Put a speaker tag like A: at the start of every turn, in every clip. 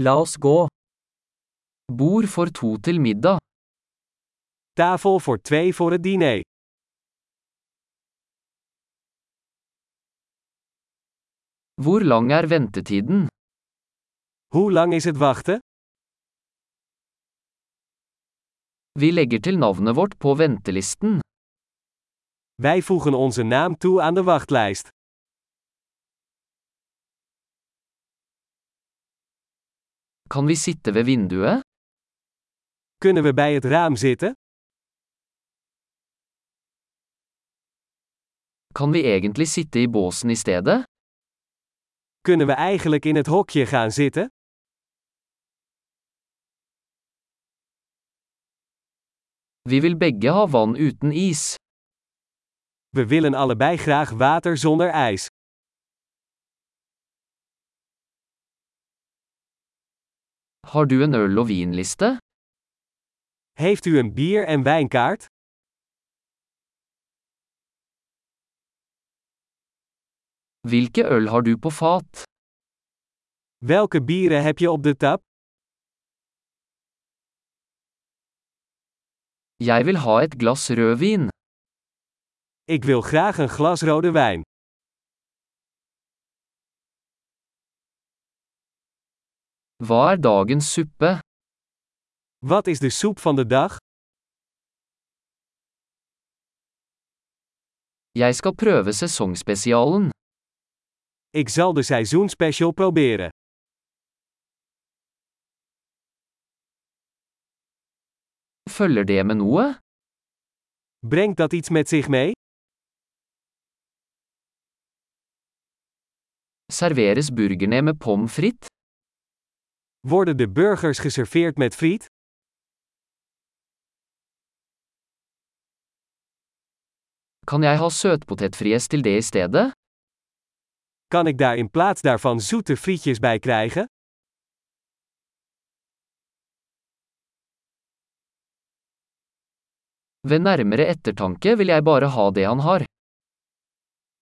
A: La oss gå. Bord for to til middag.
B: Tafel voor twee voor het diner.
A: Hvor lang er ventetiden?
B: Hoe lang is het wachten?
A: Vi legger til navnet vårt på ventelisten.
B: Wij voegen onze naam toe aan de wachtlijst.
A: Kan vi sitte ved vinduet?
B: Kunnen we bij het raam zitten?
A: Kan vi egentlig sitte i båsen i stedet?
B: Kunnen we eigenlijk in het hokje gaan zitten?
A: Vi vil begge ha vann uten is.
B: We willen allebei graag water zonder ijs.
A: Har du en øl- og vinliste?
B: Heeft u een bier- en wijnkaart?
A: Hvilke øl har du på fat?
B: Welke bieren heb je op de tap?
A: Jeg vil ha et glass rødvin.
B: Ik wil graag een glas rode wijn.
A: Hva er dagens suppe?
B: Wat is de soep van de dag?
A: Jeg skal prøve sesongspesialen.
B: Ik zal de seizoenspecial proberen.
A: Følger det med noe?
B: Brengt dat iets met zich mee?
A: Serveres burgerne med pommes frites?
B: Worden de burgers geserveerd met friet?
A: Kan jeg ha søtpotetfries til det i stedet?
B: Kan ik daar in plaats daarvan zoete frietjes bij krijgen?
A: Ved nærmere ettertanke vil jeg bare ha det han har.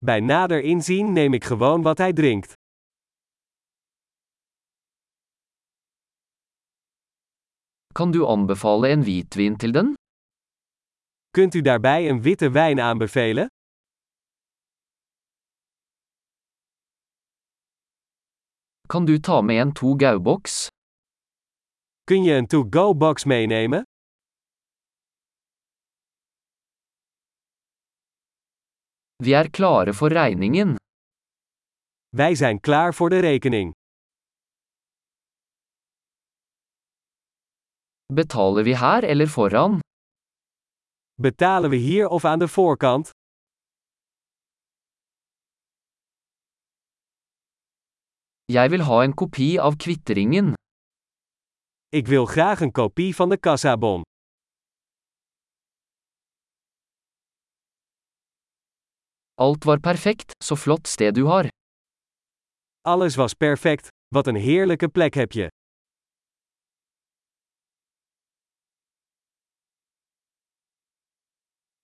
B: Bij nader inzien neem ik gewoon wat hij drinkt.
A: Kan du anbefale en hvitvin til den?
B: Kunt u daarbij een witte wijn aanbevelen?
A: Kan du ta med en to gauboks?
B: Kun je een to-go-box meenemen?
A: Vi er klare for regningen.
B: Wij zijn klaar voor de rekening.
A: Betaler vi her eller foran?
B: Betalen we hier of aan de voorkant?
A: Jeg vil ha en kopi av kvitteringen.
B: Ik wil graag een kopie van de kassabon.
A: Alt var perfekt, så flott sted du har.
B: Alles was perfect, wat een heerlijke plek heb je.